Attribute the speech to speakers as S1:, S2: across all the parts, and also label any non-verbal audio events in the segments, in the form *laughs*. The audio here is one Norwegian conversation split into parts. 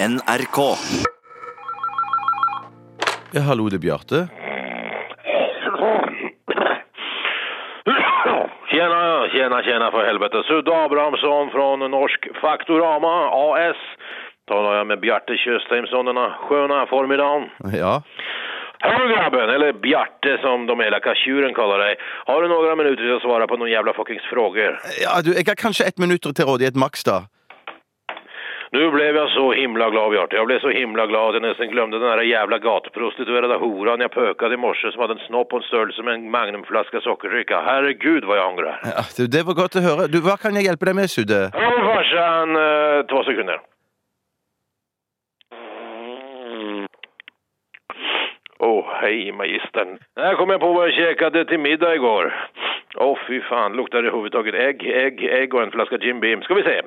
S1: NRK.
S2: Ja, hallo, det er Bjarte.
S3: Tjena, tjena, tjena för helvete. Sudde Abrahamsson från Norsk Faktorama AS. Talar jag med Bjarte Tjustheimsson denna sköna formiddagen.
S2: Ja.
S3: Hallå grabben, eller Bjarte som de elaka tjuren kallar dig. Har du några minuter till att svara på någon jävla fuckings frågor?
S2: ja du, jeg har kanskje ett minutt til rådighet maks, da.
S3: Nu blev jag så himla glad Bjarte. Jag blev så himla glad att jag nästan glömde den här jävla gatuprostituerade horan jag pökade i morse som hade en snopp och en stöld som en magnumflaska sockerdricka. Herregud vad jag ångrar.
S2: Ja, du, det var godt å høre. Du, Hva kan jeg hjelpe deg med, Sudde?
S3: Ja, men farsan, eh, två sekunder. Åh, oh, hej magistern. Här kom jag på vad jag käkade till middag igår. Åh, oh, fy fan, luktar det överhuvudtaget ägg, ägg, ägg och en flaska Jim Beam. Ska vi se.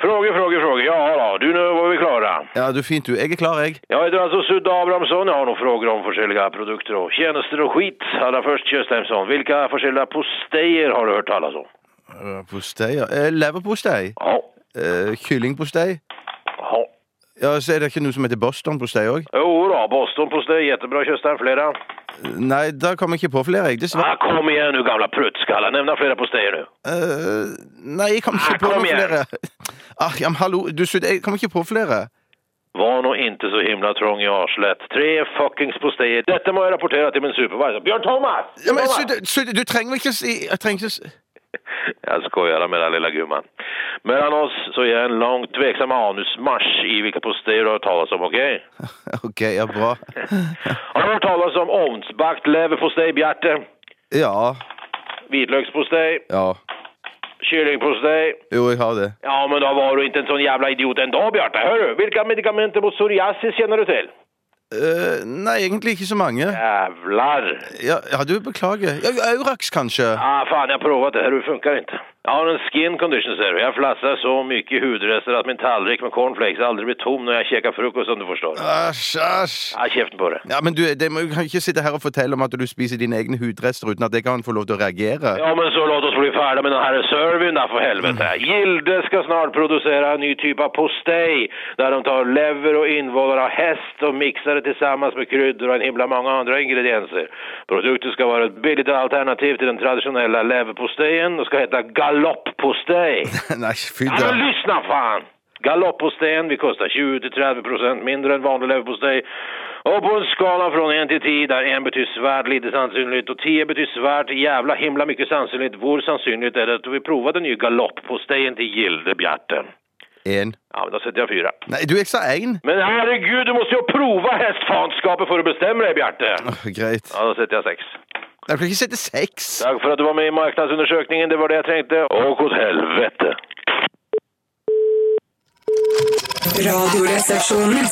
S3: Frågor, frågor, frågor. Ja, då, du, nu var vi klara.
S2: Ja, du, Fint, du. Jeg er klar, jeg.
S3: Jag heter alltså Sudde Abrahamsson. Jag har nog frågor om försäljliga produkter och tjänster och skit. Allra först, Köstheimsson, vilka försäljliga postejer har du hört talas om?
S2: Eh, Postei, ja. Eh, Leverpostei.
S3: Ja,
S2: Eh, kyllingpostei.
S3: ja.
S2: Ja, så er det ikke noe som heter Boston-postei òg?
S3: Jo då, Bostonpostej, jättebra Köstheim, flera.
S2: Nei, da kom jeg ikke på flere, jeg. Dessverre.
S3: Ah, kom igen nu gamla pruttskallar, nämna flera postejer nu.
S2: Eh, nei, jeg kom
S3: Ah,
S2: ikke på
S3: kom
S2: noen
S3: igjen.
S2: flere. Ah, ja, men hallo, du, Sudde, jeg kom ikke på flere.
S3: Var nog inte så himla trång i arslet. Tre fuckings postejer. Detta må jag rapportera till min supervisor. Björn Thomas!
S2: Ja, men
S3: Thomas!
S2: Sudde, Sudde, du trenger vel ikke si Jeg trenger *laughs* ikke si
S3: Jag skojar med den lilla gumman. Mellan oss så är jag en lång tveksam anusmarsch i vilka postejer du har hört talas om, okej?
S2: OK, ja, bra.
S3: Har du hört talas om ovnsbakt leverpostej, Bjarte?
S2: Ja.
S3: Vitlökspostej?
S2: Ja.
S3: Kyllingpostej?
S2: Jo, jeg har det.
S3: Ja, men då var du inte en sån jävla idiot ändå, Bjarte. Hörru, vilka medikamenter mot psoriasis känner du till?
S2: Eh, nei, egentlig ikke så mange.
S3: Jävlar!
S2: Ja, ja du, beklager. Ja, Aurax, kanskje?
S3: Ah, fan, jag har provat det här och det funkar inte. Jag har en skin condition, ser du. Jag flassar så mycket hudrester att min tallrik med cornflakes aldrig blir tom när jag käkar frukost, om du forstår.
S2: Æsj, æsj.
S3: Ah, käften på det.
S2: Ja, men du, det må, du kan ikke sitte her og fortelle om at du spiser dine egne hudrester uten at jeg kan få lov til å reagere. *laughs*
S3: Ja, men så låt oss bli färdiga med den här servyn där, för helvete. Gilde ska snart producera en ny typ av postej där de tar lever och invånare av häst och mixar det tillsammans med kryddor och en himla många andra ingredienser. Produkten ska vara ett billigt alternativ till den traditionella leverpostejen och ska heta galopppostej.
S2: Nei, fy
S3: Ja,
S2: da.
S3: men lyssna fan! Galoppostejen, vi kostar 20-30% mindre än vanlig leverpostej. Och på en skala från 1 till 10 där 1 betyder svärt lite sannolikt och 10 betyder svärt jävla himla mycket sannolikt. Vår sannolikt är det att vi provar den nya galoppostejen till Gildebjärten.
S2: Én.
S3: Ja, men då sätter jag fyra.
S2: Nei, du, jeg sa én.
S3: Men herregud, du måste ju prova hästfanskapet för att bestämma dig, Bjarte.
S2: Åh, greit.
S3: Ja, då sätter jag sex.
S2: Jeg kan ikke sette seks.
S3: Tack för att du var med i marknadsundersökningen, det var det jag tänkte. Och åt helvete.
S4: Radioresepsjonen.